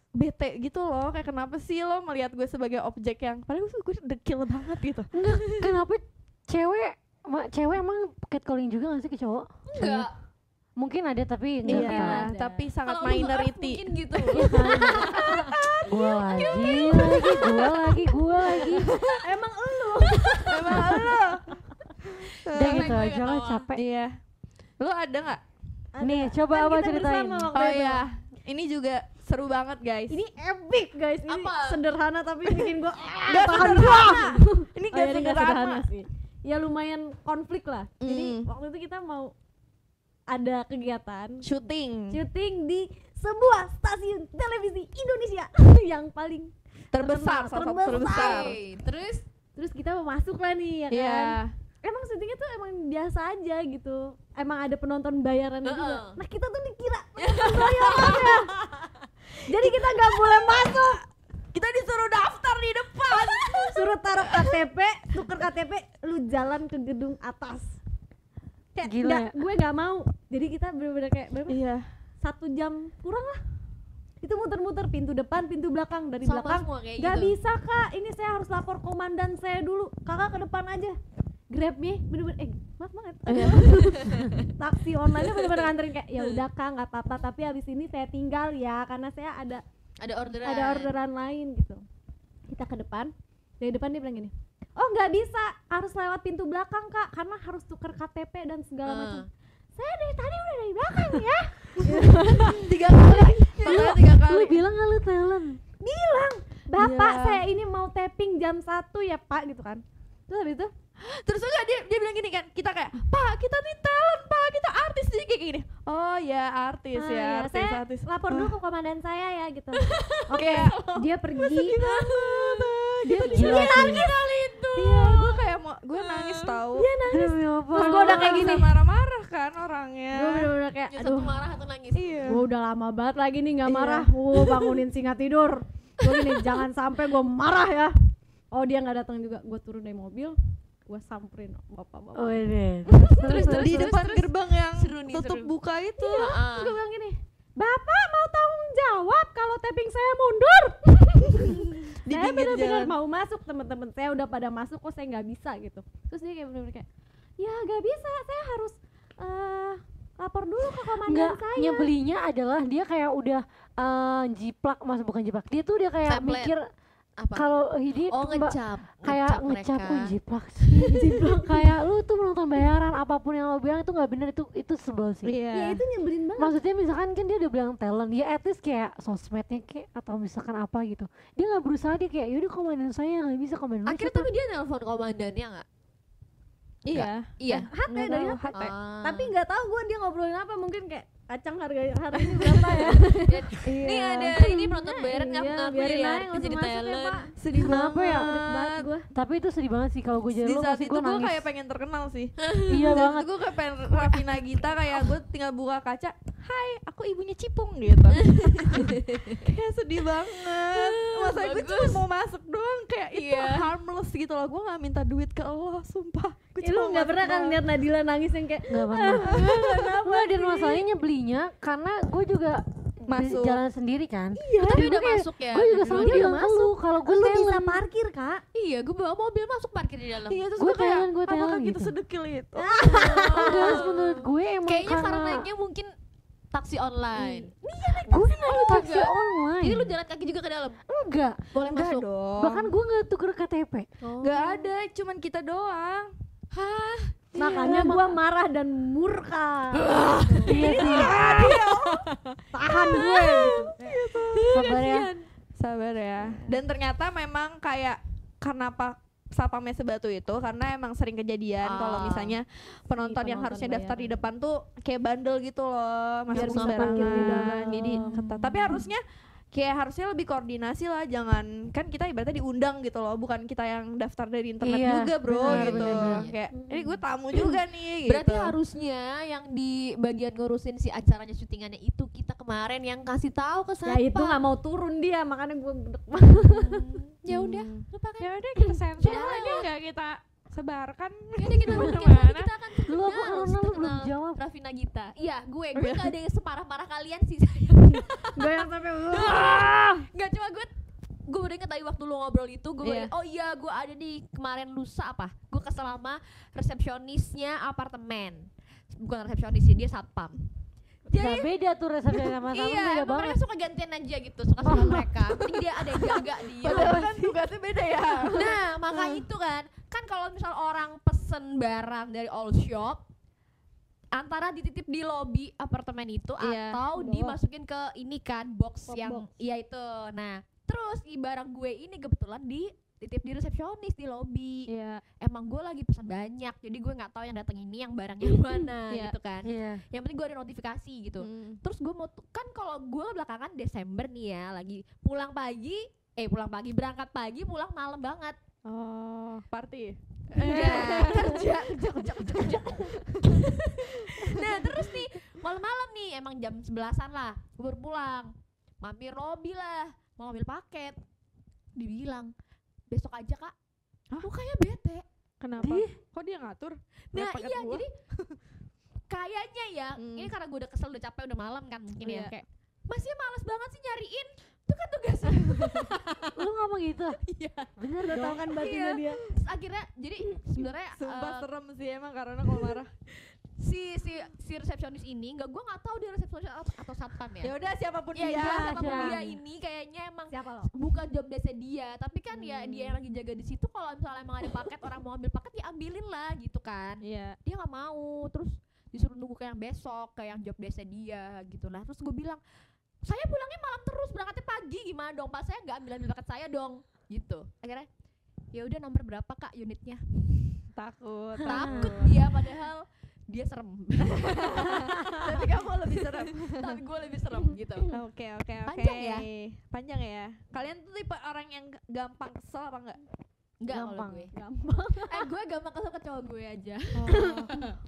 Speaker 4: bete gitu loh kayak kenapa sih lo melihat gue sebagai objek yang padahal gue gue dekil banget gitu
Speaker 2: Enggak, kenapa cewek ma- cewek emang catcalling juga gak sih ke cowok?
Speaker 3: enggak
Speaker 2: Mungkin ada tapi enggak
Speaker 5: Iya.
Speaker 2: kan.
Speaker 4: iya tapi sangat
Speaker 3: Kalau lu earth mungkin
Speaker 4: minority Iya.
Speaker 3: gitu
Speaker 2: Gua lagi, lagi, gua lagi, gua lagi.
Speaker 5: Emang lu
Speaker 4: (laughs) emang
Speaker 3: (laughs)
Speaker 4: lo
Speaker 2: Udah
Speaker 3: Capek
Speaker 2: gitu
Speaker 3: gue
Speaker 2: aja lah
Speaker 3: ketawa.
Speaker 2: capek.
Speaker 4: iya lo ada nggak
Speaker 2: Nih, coba
Speaker 5: Kan
Speaker 2: apa
Speaker 5: kita
Speaker 2: ceritain?
Speaker 5: bersama waktu
Speaker 4: oh
Speaker 5: itu.
Speaker 4: ya ini juga seru banget guys
Speaker 5: Ini epic guys. Ini
Speaker 3: Apa?
Speaker 5: sederhana tapi bikin gua
Speaker 4: Gak sederhana. iya, Ini
Speaker 5: Oh,
Speaker 4: gak
Speaker 5: jadi nggak
Speaker 4: sederhana.
Speaker 5: sih. Ya lumayan konflik lah.
Speaker 4: Mm.
Speaker 5: Jadi waktu itu kita mau ada kegiatan
Speaker 4: Shooting.
Speaker 5: syuting di sebuah stasiun televisi Indonesia (laughs) yang paling
Speaker 4: Terbesar,
Speaker 5: Terkenal,
Speaker 4: salah satu
Speaker 5: terbesar.
Speaker 4: terbesar.
Speaker 3: Hey, terus
Speaker 5: terus kita masuk lah nih ya kan.
Speaker 4: Iya.
Speaker 5: Emang syutingnya tuh emang biasa aja gitu. Emang ada penonton bayarannya juga.
Speaker 3: Heeh.
Speaker 5: Nah, kita tuh dikira penonton bayarannya. Jadi kita nggak boleh masuk.
Speaker 4: Kita disuruh daftar di depan.
Speaker 5: Suruh taruh KTP, tuker KTP, lu jalan ke gedung atas. Kayak
Speaker 2: Gila
Speaker 5: nggak-
Speaker 2: ya.
Speaker 5: gue nggak mau. Jadi kita bener-bener kayak berapa?
Speaker 4: Iya.
Speaker 5: satu jam kurang lah itu muter-muter pintu depan pintu belakang dari
Speaker 3: Sama
Speaker 5: belakang
Speaker 3: semua kayak
Speaker 5: nggak
Speaker 3: gitu.
Speaker 5: bisa kak ini saya harus lapor komandan saya dulu kakak ke depan aja grabnya bener-bener eh maaf banget
Speaker 3: (laughs)
Speaker 5: taksi online bener-bener nganterin kayak ya udah kak nggak apa-apa tapi habis ini saya tinggal ya karena saya ada
Speaker 3: ada orderan
Speaker 5: ada
Speaker 4: Eh,
Speaker 5: orderan lain gitu kita ke depan dari depan dia bilang gini oh nggak bisa harus lewat pintu belakang kak karena harus tuker KTP dan segala
Speaker 3: Eh.
Speaker 5: macam saya dari tadi udah dari belakang ya
Speaker 4: Tiga kali. Pernah tiga
Speaker 2: Lu
Speaker 4: kali.
Speaker 2: bilang gak lu talent?
Speaker 5: bilang bapak
Speaker 4: Iya.
Speaker 5: saya ini mau tapping jam satu ya pak gitu kan terus habis itu
Speaker 4: Terus enggak dia dia bilang gini kan, kita kayak, "Pak, kita nih talent, Pak. Kita artis." Jadi kayak gini. Oh ya,
Speaker 2: Iya
Speaker 4: artis
Speaker 5: "Ah,
Speaker 4: ya,
Speaker 5: ya,
Speaker 4: artis,
Speaker 5: saya
Speaker 4: artis.
Speaker 5: lapor
Speaker 2: Ah.
Speaker 5: dulu ke komandan saya ya
Speaker 2: (laughs)
Speaker 5: gitu
Speaker 4: Oke.
Speaker 5: dia pergi
Speaker 2: gitu.
Speaker 4: Dia
Speaker 2: Gila
Speaker 4: gila
Speaker 2: sih.
Speaker 4: kali itu. Iya, gue kayak mau gue nangis tahu. Iya,
Speaker 2: Demi apa?
Speaker 4: Terus gue udah kayak gini marah-marah kan orangnya.
Speaker 5: gue bener-bener kayak
Speaker 3: Ya, satu
Speaker 5: aduh
Speaker 3: marah satu nangis
Speaker 4: Iya.
Speaker 5: gue udah lama banget lagi nih nggak
Speaker 4: Iya.
Speaker 5: marah gue bangunin singa tidur gue gini jangan sampai gue marah ya oh dia nggak datang juga gue turun dari mobil gue samperin bapak-bapak
Speaker 2: Waduh.
Speaker 3: terus terus
Speaker 4: di
Speaker 3: terus,
Speaker 4: depan
Speaker 3: terus.
Speaker 4: gerbang yang
Speaker 3: Seru nih,
Speaker 4: tutup
Speaker 3: seru.
Speaker 4: buka itu.
Speaker 3: Ah.
Speaker 5: terus gue bilang gini bapak mau tanggung jawab kalau tapping saya mundur
Speaker 4: (laughs) Di
Speaker 5: saya
Speaker 4: pinggir
Speaker 5: benar-benar
Speaker 4: jalan.
Speaker 5: mau masuk teman-teman saya udah pada masuk kok saya nggak bisa gitu terus dia kayak benar-benar kayak ya nggak bisa saya harus eh lapor dulu ke komandan
Speaker 2: Enggak,
Speaker 5: saya
Speaker 2: nyebelinya adalah dia kayak udah eh, jiplak, mas bukan jiplak. Dia tuh dia kayak
Speaker 3: Saplet.
Speaker 2: mikir
Speaker 3: apa
Speaker 2: kalau ini
Speaker 3: oh
Speaker 2: Mbak,
Speaker 3: ngecap
Speaker 2: kayak
Speaker 3: ngecap
Speaker 2: ngecap
Speaker 3: mereka.
Speaker 2: "Wih, jiplak sih (laughs) jiplak kayak lu tuh menonton bayaran apapun yang lo bilang itu nggak bener itu itu sebel sih
Speaker 4: Iya.
Speaker 5: ya itu nyebelin banget
Speaker 2: maksudnya misalkan kan dia udah bilang talent ya at least kayak sosmednya kayak atau misalkan apa gitu dia nggak berusaha dia kayak yaudah komandan saya nggak bisa komandan lu
Speaker 3: akhirnya
Speaker 2: siapa?"
Speaker 3: tapi dia nelpon komandannya nggak
Speaker 4: Iya.
Speaker 3: iya
Speaker 5: hati
Speaker 4: Nggak
Speaker 5: ya dari
Speaker 4: tahu,
Speaker 5: hati
Speaker 4: hati.
Speaker 3: Ah.
Speaker 5: Eh, tapi nggak tahu gue dia ngobrolin apa mungkin kayak kacang harga hari
Speaker 4: (laughs)
Speaker 5: ini berapa ya
Speaker 4: Iya.
Speaker 3: Nih ada
Speaker 4: ya?
Speaker 3: ini penonton bayaran nggak
Speaker 5: Kan iya,
Speaker 3: ngaku
Speaker 5: biarin
Speaker 3: ya
Speaker 5: aja nggak usah
Speaker 3: jadi
Speaker 5: masuk ya,
Speaker 3: talent.
Speaker 5: Pak.
Speaker 4: Sedih
Speaker 2: Kenapa ya?
Speaker 5: Berat banget
Speaker 4: banget.
Speaker 5: gue
Speaker 2: tapi itu sedih banget sih kalau gue jadi
Speaker 4: Di
Speaker 2: lo
Speaker 4: saat
Speaker 2: pasti
Speaker 4: itu
Speaker 2: gue
Speaker 4: gue
Speaker 2: nangis
Speaker 4: kayak pengen terkenal sih.
Speaker 2: iya
Speaker 4: Di saat
Speaker 2: banget
Speaker 4: Itu gue kayak pengen Raffi Nagita kayak gue tinggal buka kaca, "Hai, aku ibunya Cipung" gitu. kayak sedih banget. Masa gue cuma mau masuk doang kayak itu
Speaker 3: Iya.
Speaker 4: harmless gitu loh. Gue gak minta duit ke lo, sumpah. Gue
Speaker 5: Eh, lu nggak pernah kan lihat Nadila nangis yang kayak
Speaker 2: nggak pernah nggak dan masalahnya nyebelinya karena gue juga di-
Speaker 4: Masuk.
Speaker 2: jalan sendiri kan
Speaker 3: Iya, tapi udah masuk ya.
Speaker 2: gue juga
Speaker 3: Dua
Speaker 2: selalu
Speaker 3: dia
Speaker 2: bilang
Speaker 3: udah
Speaker 2: ke lu kalau gue
Speaker 5: lu bisa
Speaker 2: talent.
Speaker 5: parkir kak
Speaker 3: Iya, gue bawa mobil masuk parkir di dalam.
Speaker 4: Iya, terus
Speaker 2: Gua
Speaker 4: gue kayak,
Speaker 2: talent, gua
Speaker 4: apakah
Speaker 2: talent
Speaker 4: kita
Speaker 2: gitu."
Speaker 4: sedekil itu?
Speaker 2: Enggak, menurut gue emang
Speaker 3: Kayaknya naiknya mungkin taksi online.
Speaker 2: gue naik taksi
Speaker 3: juga.
Speaker 2: online
Speaker 3: Jadi lu jalan kaki juga ke dalam.
Speaker 2: enggak
Speaker 3: Boleh
Speaker 4: Enggak
Speaker 3: masuk.
Speaker 4: dong.
Speaker 2: bahkan gue nggak tuker KTP
Speaker 3: Oh,
Speaker 4: Gak ada, cuman kita doang.
Speaker 3: Hah?
Speaker 5: Iya, makanya
Speaker 4: Iya,
Speaker 5: gua marah dan murka
Speaker 4: Ah,
Speaker 2: iya (laughs) sih
Speaker 5: tahan gue
Speaker 2: sabar ya
Speaker 4: Sabar ya. Dan ternyata memang kayak karena apa Sapame Sebatu itu karena emang sering kejadian
Speaker 3: Ah.
Speaker 4: kalau misalnya penonton,
Speaker 5: Si
Speaker 4: yang
Speaker 5: penonton
Speaker 4: harusnya daftar di depan tuh kayak bandel gitu loh,
Speaker 2: Biar
Speaker 4: masuk
Speaker 2: bisa
Speaker 4: sembarangan.
Speaker 2: parkir di dalam.
Speaker 4: Jadi ketat. Tapi harusnya kayak harusnya lebih koordinasi lah jangan kan kita ibaratnya diundang gitu loh bukan kita yang daftar dari internet
Speaker 2: Iya,
Speaker 4: juga bro
Speaker 2: benar,
Speaker 4: gitu
Speaker 2: benar.
Speaker 4: kayak ini gue tamu juga nih gitu
Speaker 3: Berarti harusnya yang di bagian ngurusin si acaranya syutingannya itu kita kemarin yang kasih tahu ke
Speaker 5: ya
Speaker 3: siapa.
Speaker 5: itu nggak mau turun dia makanya gue
Speaker 4: Iya,
Speaker 3: Ya udah, lupakan.
Speaker 4: ya udah kita sensor
Speaker 3: Sudah
Speaker 4: aja
Speaker 3: lewat.
Speaker 4: nggak kita kan? sebarkan
Speaker 3: Ya udah kita lupakan.
Speaker 4: Kemana?
Speaker 3: Nanti Kita akan
Speaker 2: Lu apa
Speaker 3: terkenal,
Speaker 2: Corona lu
Speaker 3: terkenal.
Speaker 2: belum jawab?
Speaker 3: Raffi Nagita. Iya, gue gue gak ada yang separah-parah kalian sih.
Speaker 5: gue yang sampai
Speaker 3: Gak cuma gue gue udah inget tadi waktu lu ngobrol itu gue
Speaker 4: Iya.
Speaker 3: baru- oh iya gue ada di kemarin lusa apa gue kesel sama resepsionisnya apartemen bukan resepsionis sih dia satpam
Speaker 2: Gak beda tuh resepnya sama sama
Speaker 3: iya
Speaker 2: beda
Speaker 3: emang
Speaker 2: banget.
Speaker 3: mereka suka gantian aja gitu suka suka mereka Mending dia ada yang jaga dia
Speaker 4: padahal kan tugasnya beda (laughs) ya
Speaker 3: nah maka
Speaker 4: Hmm.
Speaker 3: itu kan kan kalau misal orang pesen barang dari all shop antara dititip di lobi apartemen itu
Speaker 4: Iya.
Speaker 3: atau
Speaker 5: Bawah.
Speaker 3: dimasukin ke ini kan box
Speaker 5: Box,
Speaker 3: yang iya itu nah terus di barang gue ini kebetulan di titip di resepsionis di lobi
Speaker 4: iya
Speaker 3: emang gue lagi pesan banyak jadi gue nggak tahu yang datang ini yang barang
Speaker 4: (laughs)
Speaker 3: yang mana
Speaker 4: Iya. Hmm.
Speaker 3: gitu kan
Speaker 2: Iya.
Speaker 3: yang penting gue ada notifikasi gitu terus gue mau tu- kan kalau gue belakangan Desember nih ya lagi pulang pagi eh pulang pagi berangkat pagi pulang malam banget
Speaker 4: oh party
Speaker 3: Enggak,
Speaker 4: (laughs)
Speaker 3: kerja kerja kerja kerja kerja nah terus nih malam-malam nih emang jam sebelasan lah gue baru pulang mampir lobby lah mau ambil paket dibilang besok aja kak
Speaker 4: Hah?
Speaker 3: Lu kayaknya bete
Speaker 4: kenapa kok dia ngatur
Speaker 3: nah
Speaker 4: Paket
Speaker 3: iya
Speaker 4: gua. (laughs)
Speaker 3: jadi kayaknya ya
Speaker 4: Hmm.
Speaker 3: ini karena gue udah kesel udah capek udah malam kan mungkin
Speaker 4: Iya.
Speaker 3: ya kayak masih males banget sih nyariin itu kan
Speaker 4: (laughs)
Speaker 3: tugasnya
Speaker 2: Lu ngomang gitu?
Speaker 3: Iya.
Speaker 2: Bener
Speaker 5: udah tau
Speaker 2: dong.
Speaker 5: kan batinnya
Speaker 3: Iya.
Speaker 5: dia
Speaker 3: Terus akhirnya jadi sebenarnya
Speaker 4: sumpah
Speaker 3: eh,
Speaker 4: serem sih emang karena kalau marah
Speaker 3: si si si resepsionis ini nggak gue nggak tahu dia resepsionis atau, atau satpam ya.
Speaker 4: ya udah siapapun dia
Speaker 3: Ya, iya, satpam
Speaker 2: iya.
Speaker 3: dia ini kayaknya emang
Speaker 5: siapa lo
Speaker 3: bukan job desk dia, tapi kan ya dia yang lagi jaga di situ kalau misalnya emang ada paket orang mau ambil paket ya ambilin lah gitu kan.
Speaker 4: iya
Speaker 3: Dia nggak mau, terus disuruh nunggu ke yang besok, ke yang job desk dia gitu lah. Terus gue bilang, "Saya pulangnya malam terus, berangkatnya pagi gimana dong? Pak saya nggak ambil ambil paket saya dong." gitu. Akhirnya ya udah nomor berapa Kak unitnya?
Speaker 4: takut
Speaker 3: Takut dia padahal dia serem. (laughs)
Speaker 4: tapi kamu lebih serem
Speaker 3: tapi gue lebih serem gitu
Speaker 4: Oke oke oke.
Speaker 3: Panjang ya?
Speaker 4: Panjang ya. Kalian tuh tipe orang yang g- gampang kesel apa enggak?
Speaker 3: Enggak
Speaker 2: Gampang.
Speaker 3: kalau gue
Speaker 5: gampang
Speaker 3: eh gue gampang kesel ke cowok gue aja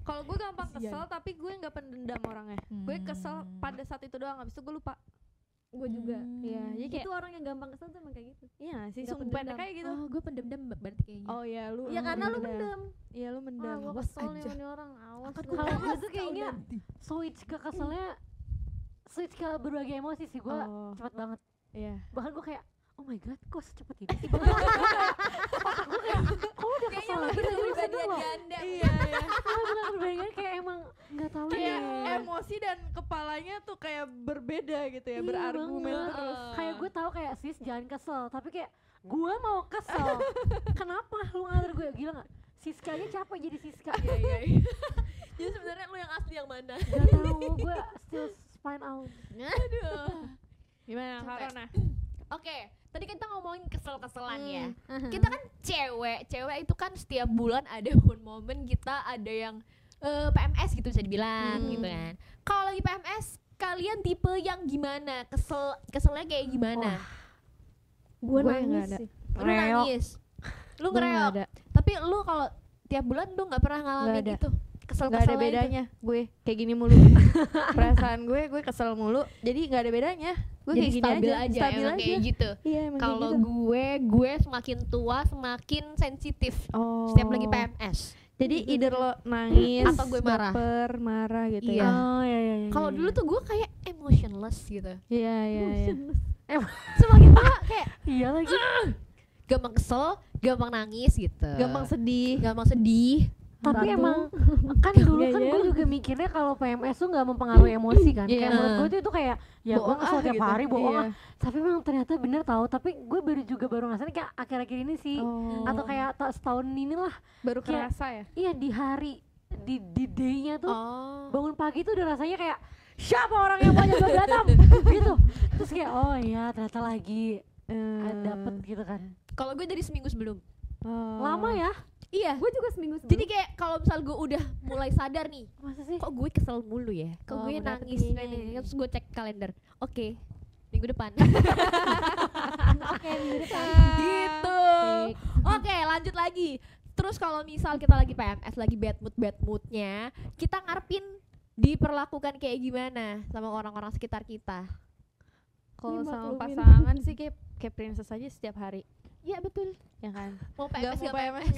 Speaker 4: Kalau gue gampang kesel
Speaker 3: Kasian. Hmm.
Speaker 4: tapi gue nggak pendendam orangnya. Gue kesel pada saat itu doang habis itu gue lupa.
Speaker 5: gue juga
Speaker 4: Iya, jadi kayak
Speaker 5: itu orang yang gampang kesel tuh emang kayak gitu
Speaker 4: iya sih
Speaker 5: Nggak
Speaker 4: sumpen
Speaker 5: pendendam.
Speaker 4: kayak gitu.
Speaker 3: oh gue pendem-dem berarti kayaknya
Speaker 4: Oh iya lu.
Speaker 5: ya karena lu
Speaker 4: mendem.
Speaker 5: mendem
Speaker 4: Iya lu
Speaker 5: ah
Speaker 4: mendem.
Speaker 5: gue
Speaker 3: Awas
Speaker 5: kesel
Speaker 3: aja.
Speaker 5: nih sama ini orang awas
Speaker 3: Angkat
Speaker 5: lu.
Speaker 3: gua.
Speaker 2: Kalau gue
Speaker 3: Awas
Speaker 2: tuh kayaknya switch ke keselnya switch ke berbagai emosi sih gue
Speaker 4: Oh,
Speaker 2: cepet banget.
Speaker 4: iya.
Speaker 2: Bahkan gue kayak oh my god kok secepat ini sih. Bahkan gue kayak kok udah kesel lagi
Speaker 3: Kita
Speaker 2: tadi lu seneng
Speaker 3: pribadian
Speaker 2: loh.
Speaker 3: ganda
Speaker 4: Iya, iya.
Speaker 2: Kalau bilang perbandingan kayak emang nggak tahu
Speaker 4: (laughs) Kayak
Speaker 2: deh.
Speaker 4: emosi dan kepalanya tuh kayak berbeda gitu ya,
Speaker 2: Iya
Speaker 4: berargumen
Speaker 2: banget.
Speaker 4: terus.
Speaker 2: kayak gue tahu kayak sis jangan kesel tapi kayak gue mau kesel kenapa lu ngatur gue gila nggak Siskanya capek jadi Siska
Speaker 3: iya iya iya jadi sebenarnya lu yang asli yang mana
Speaker 2: gak tahu gue still spine out
Speaker 3: aduh
Speaker 4: Gimana ya?
Speaker 3: Capek.
Speaker 4: Karona?
Speaker 3: oke tadi kan kita ngomongin kesel-keselan ya
Speaker 4: Hmm.
Speaker 3: kita kan cewek cewek itu kan setiap bulan ada (laughs) one moment kita ada yang eh, PMS gitu bisa dibilang
Speaker 4: Hmm.
Speaker 3: gitu kan kalau lagi PMS kalian tipe yang gimana kesel keselnya kayak gimana
Speaker 5: gue
Speaker 4: Gua yang nggak
Speaker 5: nangis
Speaker 4: ada.
Speaker 5: sih
Speaker 3: lu nangis lu ngereok tapi lu kalau tiap bulan lu nggak pernah ngalamin
Speaker 4: Nggak ada.
Speaker 3: itu kesel
Speaker 4: nggak ada bedanya gue kayak gini
Speaker 3: (laughs)
Speaker 4: mulu perasaan gue gue kesel mulu jadi nggak ada bedanya gue
Speaker 3: jadi
Speaker 4: kayak gini
Speaker 3: stabil aja,
Speaker 4: stabil
Speaker 3: emang
Speaker 4: aja
Speaker 3: kayak gitu
Speaker 4: iya emang kayak
Speaker 3: kalau
Speaker 4: gitu.
Speaker 3: gue gue semakin tua semakin sensitif
Speaker 4: oh.
Speaker 3: setiap lagi PMS
Speaker 4: jadi either lo nangis
Speaker 3: Atau gue marah.
Speaker 4: baper, marah gitu
Speaker 3: Iya.
Speaker 2: oh iya iya iya,
Speaker 3: kalau
Speaker 4: Hmm.
Speaker 2: iya.
Speaker 3: dulu tuh gue kayak emotionless gitu
Speaker 4: ya iya iya iya
Speaker 3: semakin tua kayak
Speaker 2: iya lagi
Speaker 3: gampang kesel gampang nangis gitu
Speaker 4: gampang sedih
Speaker 3: gampang sedih
Speaker 2: tapi
Speaker 5: Batu.
Speaker 2: emang kan dulu
Speaker 5: Iya,
Speaker 2: kan
Speaker 5: iya.
Speaker 2: gue juga mikirnya kalau PMS tuh nggak mempengaruhi emosi kan
Speaker 4: Iya.
Speaker 2: kayak menurut gue tuh itu kayak ya gue
Speaker 4: Bohong
Speaker 2: kesel
Speaker 4: ah,
Speaker 2: tiap
Speaker 4: gitu.
Speaker 2: hari bohong
Speaker 4: Iya.
Speaker 2: ah. tapi memang ternyata bener tahu tapi gue baru juga baru ngasain kayak akhir-akhir ini sih
Speaker 4: Oh.
Speaker 2: atau kayak ta- setahun inilah
Speaker 4: baru
Speaker 2: kayak-
Speaker 4: kerasa ya
Speaker 2: iya di hari di di day-nya tuh
Speaker 3: oh
Speaker 2: bangun pagi tuh udah rasanya kayak siapa orang yang banyak gua datang gitu terus kayak oh iya ternyata lagi
Speaker 4: Eh,
Speaker 3: Ah,
Speaker 4: Hmm.
Speaker 2: ada dapet gitu kan
Speaker 3: kalau gue dari seminggu sebelum
Speaker 4: oh.
Speaker 2: lama ya
Speaker 3: iya
Speaker 5: gue juga seminggu sebelum
Speaker 3: jadi
Speaker 4: (laughs)
Speaker 3: kayak kalau misal gue udah mulai sadar nih
Speaker 2: masa sih
Speaker 3: kok gue kesel mulu ya kok
Speaker 5: Oh,
Speaker 3: gue
Speaker 5: udah
Speaker 3: nangis gitu.
Speaker 5: dapet
Speaker 3: nangis,
Speaker 5: ini.
Speaker 3: terus gue cek kalender oke minggu (laughs) depan
Speaker 5: Oke, minggu depan.
Speaker 3: gitu
Speaker 5: Fix.
Speaker 3: oke lanjut lagi terus kalau misal kita lagi PMS lagi bad mood bad moodnya kita ngarepin diperlakukan kayak gimana sama orang-orang sekitar kita
Speaker 4: Kalau sama
Speaker 5: Dimaklumin.
Speaker 4: pasangan sih kayak kayak princess aja setiap hari,
Speaker 3: Iya betul
Speaker 4: ya kan?
Speaker 3: mau
Speaker 4: Nggak
Speaker 3: PMS nggak PMS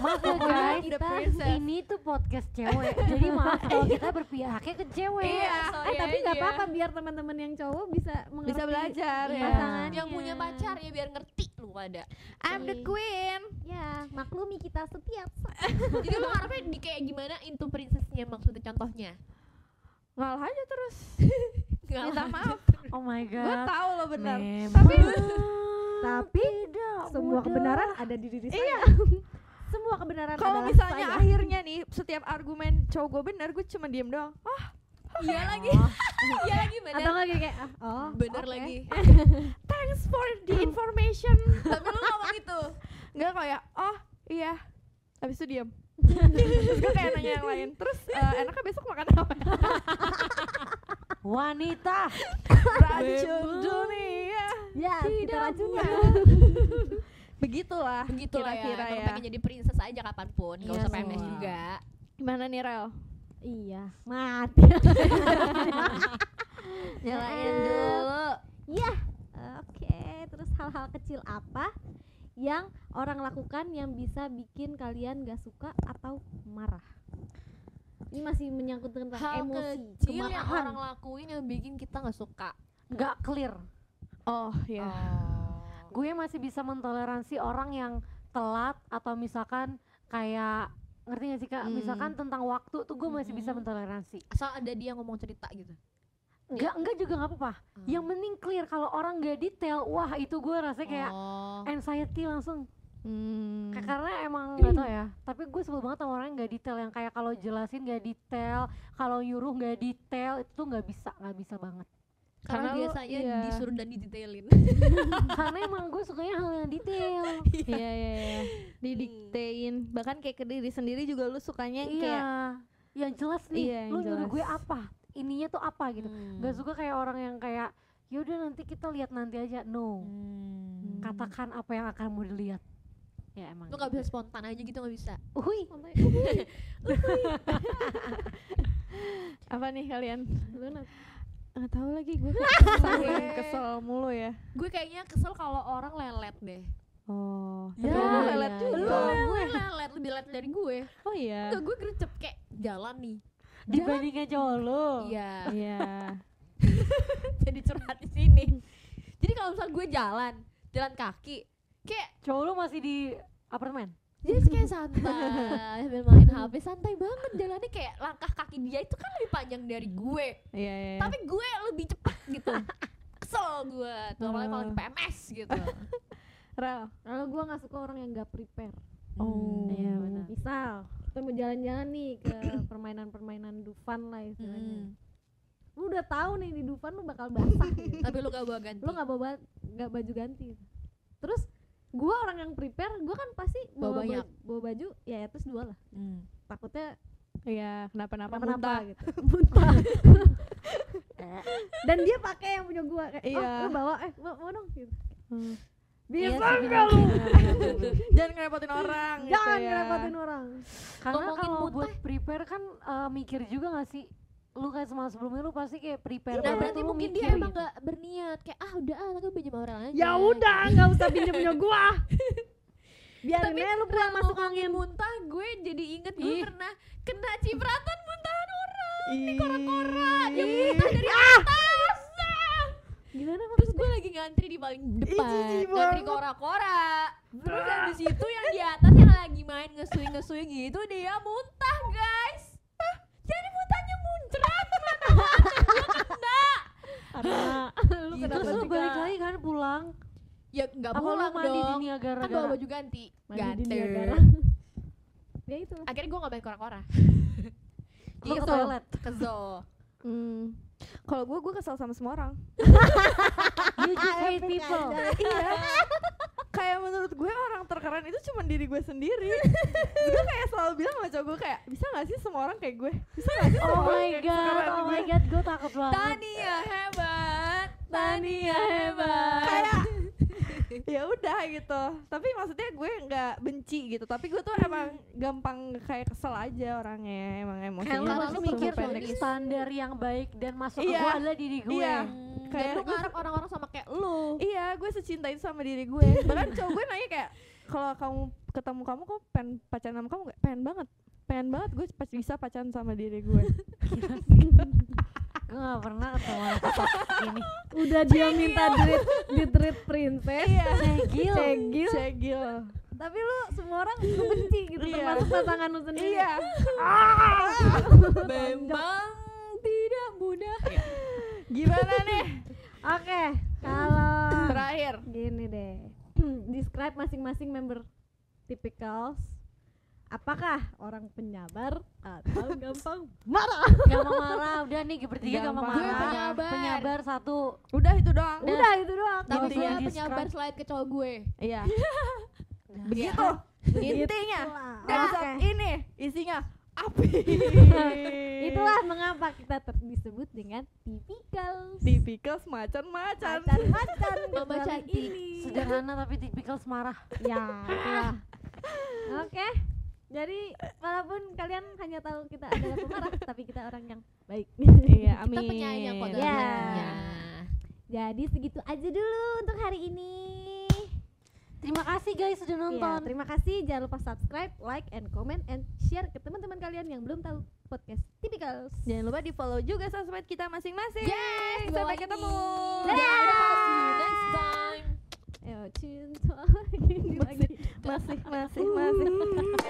Speaker 2: Maaf ya guys,
Speaker 4: Udah
Speaker 2: kita
Speaker 4: princess.
Speaker 2: ini tuh podcast cewek. Jadi maaf kalau kita berpihaknya ke cewek.
Speaker 3: iya
Speaker 5: Eh, tapi nggak apa-apa biar teman-teman yang cowok bisa mengerti.
Speaker 4: Bisa belajar
Speaker 5: Iya.
Speaker 4: ya.
Speaker 5: pasangannya.
Speaker 3: yang punya pacar ya biar ngerti lu pada I'm the
Speaker 5: Iya.
Speaker 3: queen
Speaker 5: Ya, maklumi kita setiap saat.
Speaker 3: jadi lu ngarepnya di kayak gimana into princessnya maksudnya contohnya
Speaker 4: Ngalah aja terus.
Speaker 3: Nggak
Speaker 4: Minta
Speaker 3: lah.
Speaker 4: maaf.
Speaker 2: Oh my
Speaker 4: Gue
Speaker 2: god.
Speaker 4: tahu lo benar.
Speaker 2: Memang
Speaker 4: Tapi Hmm,
Speaker 5: Tapi semua
Speaker 2: mudah.
Speaker 5: kebenaran ada di diri saya. (laughs) semua kebenaran
Speaker 4: Iya. kalau
Speaker 5: adalah
Speaker 4: misalnya
Speaker 5: saya.
Speaker 4: akhirnya nih setiap argumen cowok gue benar, gue cuma diem doang. Oh,
Speaker 3: (laughs) iya lagi (laughs) iya lagi
Speaker 5: atau
Speaker 3: bener
Speaker 5: nggak kayak kayak, ah, oh
Speaker 3: bener
Speaker 5: oke.
Speaker 3: lagi
Speaker 4: thanks for the information.
Speaker 3: tapi lu ngomong itu
Speaker 4: Enggak kayak, oh iya. Habis itu diem. terus gue kayak nanya yang lain. Terus eh, enaknya besok makan apa?
Speaker 2: Wanita.
Speaker 4: Racun dunia.
Speaker 5: ya kita racun ya
Speaker 4: Begitulah.
Speaker 3: begitu lah ya
Speaker 4: kira-kira
Speaker 3: emang pengen jadi princess aja kapanpun nggak
Speaker 2: Iya
Speaker 3: usah
Speaker 2: sih.
Speaker 3: PMS juga
Speaker 4: Gimana nih Rel?
Speaker 5: iya
Speaker 4: (laughs)
Speaker 5: mati
Speaker 3: nyalain
Speaker 5: Eh,
Speaker 3: dulu
Speaker 5: ya oke terus hal-hal kecil apa yang orang lakukan yang bisa bikin kalian gak suka atau marah ini masih menyangkut dengan
Speaker 3: hal
Speaker 5: Nah, emosi
Speaker 3: kecil yang
Speaker 5: kemarahan
Speaker 3: orang lakuin yang bikin kita nggak suka
Speaker 2: Nggak clear.
Speaker 4: Oh iya.
Speaker 3: oh.
Speaker 2: Gue masih bisa mentoleransi orang yang telat atau misalkan kayak ngerti gak sih kak?
Speaker 4: Hmm.
Speaker 2: Misalkan tentang waktu tuh gue masih bisa
Speaker 3: Mhm.
Speaker 2: mentoleransi.
Speaker 3: asal ada dia ngomong cerita gitu
Speaker 2: Enggak, enggak juga nggak apa-apa. Oh.
Speaker 3: Hmm.
Speaker 2: Yang penting clear kalau orang nggak detail, wah itu gue rasanya kayak eh,
Speaker 3: oh.
Speaker 2: anxiety langsung.
Speaker 4: Hmm.
Speaker 2: Ka- Karena emang nggak tau ya. Tapi gue sebel banget sama orang yang nggak detail yang kayak kalau jelasin nggak detail, kalau nyuruh nggak detail itu tuh nggak bisa, nggak bisa banget.
Speaker 3: karena,
Speaker 4: Karena lu-
Speaker 3: biasanya
Speaker 4: iya.
Speaker 3: disuruh dan didetailin
Speaker 2: Karena emang gue sukanya hal yang detail. Ya
Speaker 4: Iya iya iya. Didiktein. Bahkan kayak ke diri sendiri juga lu sukanya yang
Speaker 2: iya.
Speaker 4: kayak
Speaker 2: Yang jelas nih,
Speaker 4: Iya, yang
Speaker 2: lu nyuruh gue
Speaker 4: jelas.
Speaker 2: apa? Ininya tuh apa gitu. Nggak suka kayak orang yang kayak yaudah nanti kita lihat nanti aja. No.
Speaker 3: Hmm.
Speaker 2: Katakan apa yang akan mau dilihat. Ya emang.
Speaker 3: lu nggak bisa spontan aja gitu nggak bisa
Speaker 2: Uhuy.
Speaker 4: (laughs) apa nih kalian?
Speaker 5: Lu, Nat?
Speaker 4: Nggak tahu lagi gue kesel,
Speaker 3: Gue.
Speaker 4: kesel mulu ya.
Speaker 3: gue kayaknya kesel kalau orang lelet deh
Speaker 4: Oh.
Speaker 2: Ya,
Speaker 4: Ya, lu
Speaker 2: iya,
Speaker 4: lelet
Speaker 2: iya.
Speaker 4: juga.
Speaker 3: lu ya. lelet lelet lebih lelet dari gue
Speaker 4: Oh iya.
Speaker 3: Enggak, gue gercep kayak jalan nih
Speaker 2: Dibandingkan cowok lu.
Speaker 3: iya
Speaker 4: Iya.
Speaker 3: (laughs) jadi curhat di sini jadi kalau misal gue jalan jalan kaki kayak
Speaker 2: Cowok lu masih di apartemen.
Speaker 3: jadi kayak santai sambil main HP santai banget jalannya kayak langkah kaki dia itu kan lebih panjang dari gue
Speaker 4: Iya iya.
Speaker 3: tapi gue lebih cepat gitu kesel gue tuh apalagi kalau lagi
Speaker 4: Oh.
Speaker 3: PMS gitu
Speaker 4: Rel.
Speaker 5: kalau gue nggak suka orang yang nggak prepare
Speaker 4: Oh.
Speaker 2: Iya, benar.
Speaker 5: misal kita mau jalan-jalan nih ke permainan-permainan Dufan lah istilahnya
Speaker 3: Hmm.
Speaker 5: lu udah tahu nih di Dufan lu bakal basah gitu.
Speaker 3: tapi lu gak bawa ganti
Speaker 5: lu nggak bawa ba- nggak baju ganti terus gua orang yang prepare gua kan pasti
Speaker 3: Bawa
Speaker 5: bawa baju,
Speaker 3: banyak.
Speaker 5: bawa baju ya terus dua lah
Speaker 3: Hmm.
Speaker 5: takutnya
Speaker 4: Iya, kenapa-napa
Speaker 5: kenapa napa
Speaker 4: muntah.
Speaker 5: gitu muntah dan dia pakai yang punya gua kayak
Speaker 4: Iya.
Speaker 5: oh, lu bawa eh mau, mau dong gitu
Speaker 4: Hmm.
Speaker 5: bisa
Speaker 2: sih,
Speaker 5: nggak lu
Speaker 4: Jangan ngerepotin orang
Speaker 5: jangan
Speaker 4: gitu ya.
Speaker 5: ngerepotin orang
Speaker 2: Karena
Speaker 3: Ngomongin
Speaker 2: kalau
Speaker 3: muntah.
Speaker 2: buat prepare kan eh, mikir juga gak sih? Lu kayak semalam sebelumnya lu pasti kayak prepare.
Speaker 3: Nah
Speaker 2: banget,
Speaker 3: berarti
Speaker 2: lu
Speaker 3: mungkin
Speaker 2: mikir
Speaker 3: dia emang
Speaker 2: gitu.
Speaker 3: gak berniat Kayak ah udah ah nanti gue pinjam orang aja
Speaker 5: ya udah nggak usah pinjem
Speaker 3: (laughs)
Speaker 5: punya gua biarin
Speaker 3: Tapi
Speaker 5: aja lu pulang masuk angin
Speaker 3: muntah gue jadi inget gue
Speaker 2: Ih.
Speaker 3: pernah kena cipratan muntahan orang di
Speaker 4: Ih.
Speaker 3: kora-kora yang muntah dari atas Ah.
Speaker 5: gimana
Speaker 3: terus gue lagi ngantri di paling depan
Speaker 4: jijik banget.
Speaker 3: ngantri kora-kora terus habis itu yang di atas yang lagi main ngesuing ngesuing gitu dia muntah guys Hah? jadi muntahnya muncrat
Speaker 5: (laughs) lu
Speaker 3: Gitu.
Speaker 5: kenapa
Speaker 2: Terus lu
Speaker 5: sih,
Speaker 2: balik
Speaker 5: Kak?
Speaker 2: lagi kan pulang.
Speaker 3: ya nggak
Speaker 2: Apa lu
Speaker 3: pulang
Speaker 2: mandi di
Speaker 3: dong
Speaker 2: Niagara?
Speaker 3: kan bawa baju ganti
Speaker 5: Mandi di
Speaker 3: (laughs)
Speaker 5: Niagara.
Speaker 3: ganteng
Speaker 5: ya itu lah
Speaker 3: akhirnya gue nggak main kora-kora
Speaker 2: Lu ke toilet.
Speaker 3: kesel
Speaker 4: Hmm. Kalau gue, gue kesel sama semua orang.
Speaker 2: You
Speaker 3: Ah,
Speaker 2: just
Speaker 3: eh,
Speaker 2: hate people.
Speaker 4: iya (laughs) kayak menurut gue orang terkeren itu cuma diri gue (laughs) sendiri Terus gue kayak selalu bilang sama cowok gue kayak bisa gak sih semua orang (laughs) kayak gue bisa gak sih
Speaker 2: Oh
Speaker 4: semua orang
Speaker 2: my
Speaker 4: kayak
Speaker 2: god,
Speaker 4: sekeren
Speaker 2: oh my
Speaker 4: gue?"
Speaker 2: god, gue takut banget.
Speaker 3: Tania hebat
Speaker 5: Tania hebat.
Speaker 4: kayak ya udah gitu tapi maksudnya gue nggak benci gitu tapi gue tuh emang gampang kayak kesel aja orangnya emang emosinya
Speaker 3: Kalau
Speaker 2: Karena
Speaker 3: lu
Speaker 2: lu
Speaker 4: sumber
Speaker 2: mikir
Speaker 4: pendek.
Speaker 2: bahwa standar yang baik dan masuk ke
Speaker 4: Iya.
Speaker 2: gue adalah diri gue.
Speaker 4: Iya.
Speaker 3: Hmm,
Speaker 4: Kayak
Speaker 3: dan lu
Speaker 4: gue-
Speaker 3: ngarep orang-orang sama kayak lu
Speaker 4: iya gue secinta itu sama diri (laughs) gue bahkan cowok gue nanya kayak kalau kamu ketemu kamu kok pengen pacaran sama kamu nggak pengen banget pengen banget gue pas bisa pacaran sama diri gue (laughs)
Speaker 2: Gue gak pernah ketemu orang sesat ini.
Speaker 5: Udah dia minta di ditreat princess.
Speaker 2: Cegil.
Speaker 5: Cegil.
Speaker 4: cegil
Speaker 5: Tapi lu semua orang lu benci gitu
Speaker 4: Iya.
Speaker 5: termasuk pasangan lu sendiri.
Speaker 4: iya
Speaker 3: memang tidak mudah
Speaker 4: gimana nih
Speaker 5: Oke, kalau
Speaker 4: terakhir
Speaker 5: gini deh. (clears throat) Describe masing-masing member typicals. Apakah orang penyabar atau gampang
Speaker 2: Gak mau marah, udah nih bertiga gak mau marah.
Speaker 4: Gampang.
Speaker 3: Gue penyabar.
Speaker 2: Penyabar satu.
Speaker 4: udah itu doang
Speaker 2: Dan-
Speaker 5: Udah itu doang.
Speaker 3: tapi ya.
Speaker 2: Gak
Speaker 3: gue
Speaker 2: usah
Speaker 3: penyabar
Speaker 2: di-describe.
Speaker 3: slide ke cowok gue
Speaker 4: iya
Speaker 3: begitu
Speaker 4: Gitu. intinya
Speaker 5: Itulah.
Speaker 4: dan
Speaker 5: Oke.
Speaker 4: saat ini isinya (laughs) api
Speaker 5: Itulah mengapa kita ter- disebut dengan typicals.
Speaker 4: tipikal macam-macam
Speaker 5: Macan-macan di
Speaker 3: Mama
Speaker 5: Bali
Speaker 3: cantik.
Speaker 5: ini.
Speaker 2: Sederhana tapi tipikal semarah.
Speaker 5: Ya, itulah. Oke. Jadi walaupun kalian hanya tahu kita adalah (laughs) pemarah, tapi kita orang yang baik.
Speaker 4: iya amin
Speaker 3: kita penyayang kok
Speaker 5: Iya.
Speaker 3: dalamnya.
Speaker 5: (laughs) Jadi segitu aja dulu untuk hari ini.
Speaker 2: Terima kasih guys sudah
Speaker 5: Ya,
Speaker 2: nonton.
Speaker 5: terima kasih. Jangan lupa subscribe, like, and comment, and share ke teman-teman kalian yang belum tahu podcast Typicals.
Speaker 4: jangan lupa di follow juga sosmed kita masing-masing sampai
Speaker 3: yes bawain
Speaker 4: ketemu.
Speaker 3: nih.
Speaker 5: Dadah.
Speaker 3: Dadah, see you next time
Speaker 5: (laughs) Ayo, cinta lagi, Uh. lagi. (laughs)
Speaker 4: masih masih masih